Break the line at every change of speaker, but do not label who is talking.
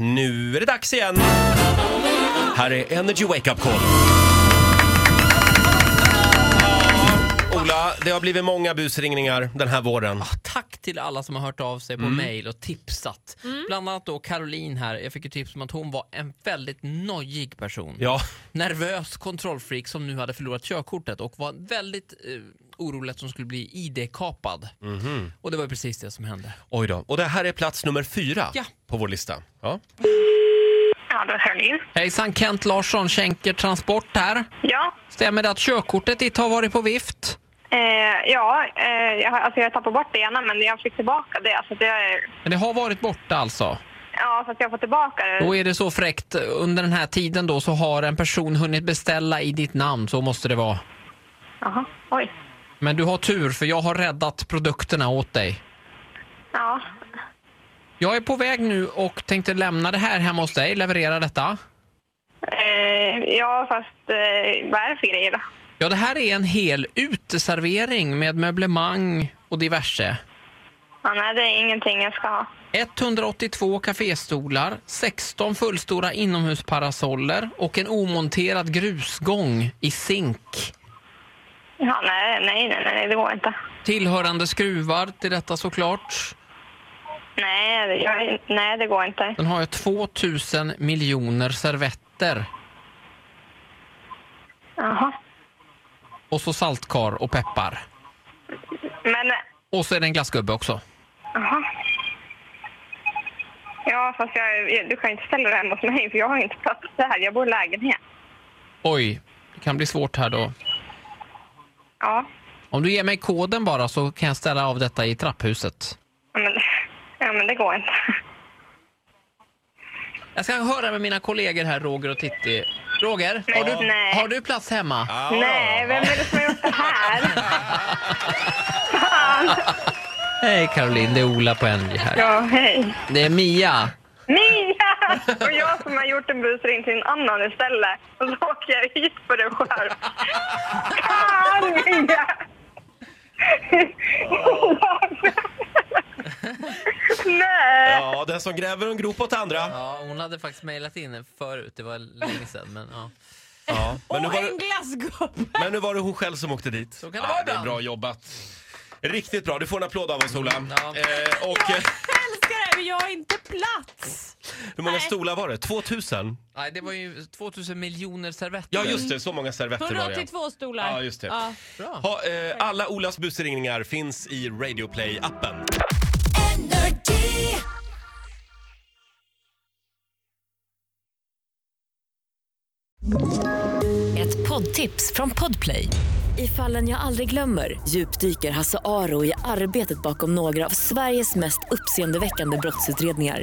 Nu är det dags igen! Här är Energy Wake Up Call. Ja, Ola, det har blivit många busringningar den här våren.
Ah, Tack till alla som har hört av sig på mail och tipsat. Bland annat då Caroline här. Jag fick ju tips om att hon var en väldigt nojig person.
Ja,
Nervös kontrollfreak som nu hade förlorat körkortet och var väldigt eh, orolig att hon skulle bli ID-kapad. Och det var ju precis det som hände.
oj då. Och det här är plats nummer fyra
Ja.
på vår lista. Ja.
Ja, det är Caroline.
Hejsan, Kent Larsson, Schenker Transport här.
Ja,
Stämmer det att körkortet ditt har varit på vift?
eh, ja eh, jag, har- alltså jag tappade bort det ena men jag fick tillbaka det. Så att jag,
Men det har varit borta alltså?
ja, så att jag får tillbaka det.
Då är det så fräckt, under den här tiden då så har en person hunnit beställa i ditt namn, så måste det vara.
Jaha, oj.
Men du har tur för jag har räddat produkterna åt dig.
Ja,
Jag är på väg nu och tänkte lämna det här hemma hos dig, leverera detta.
eh, ja fast eh, vad är det för grejer då?
Ja, det här är en hel uteservering med möblemang och diverse.
Ja, nej, det är ingenting jag ska ha.
182 kaféstolar, 16 fullstora inomhusparasoller och en omonterad grusgång i zink.
Ja, nej, nej, nej, nej, det går inte.
Tillhörande skruvar till detta såklart.
Nej, det, jag, nej, det går inte.
Den har jag 2000 miljoner servetter
Jaha.
och så saltkar och peppar.
Men, eh,
Och så är det en glassgubbe också.
jaha. Ja, fast jag, jag, du kan ju inte ställa det hemma hos mig för jag har ju inte plats här. Jag bor i lägenhet.
Oj, det kan bli svårt här då.
Ja,
Om du ger mig koden bara så kan jag ställa av detta i trapphuset.
ja men, ja, men det går inte.
Jag ska höra med mina kollegor här, Roger och Titti. Roger,
Nej,
har du,
nej.
har du plats hemma?
Ah,
Nej, vem är det som har gjort det här?
Hej Caroline, det är Ola på Energy här.
Ja, hej.
Det är Mia.
Mia! Och jag som har gjort en busring till en annan istället. Och så åker jag hit på det själv. Fan, Mia! Nej!
Ja, den som gräver en grop åt andra.
Ja, hon hade faktiskt mejlat in förut, det var länge sedan. Men, ja.
Ja. Men, nu
Och
var det,
en glassgubbe!
men nu var det hon själv som åkte dit.
Så kan det vara
ja, det är
ibland.
bra jobbat. Riktigt bra. Du får en applåd av oss, Ola.
Ja.
Eh, och, eh,
Älskar det, men jag har inte plats!
hur många
Nej.
stolar var det? 2000?
Nej, det var ju 2000 miljoner servetter.
Ja, just det. Så många servetter Mm. var det.
182 stolar.
Ja, just det.
Ja.
Bra.
Ha, eh, alla Olas busringningar finns i Radio Play-appen.
Ett poddtips från Podplay. I fallen jag aldrig glömmer djupdyker Hasse Aro i arbetet bakom några av Sveriges mest uppseendeväckande brottsutredningar.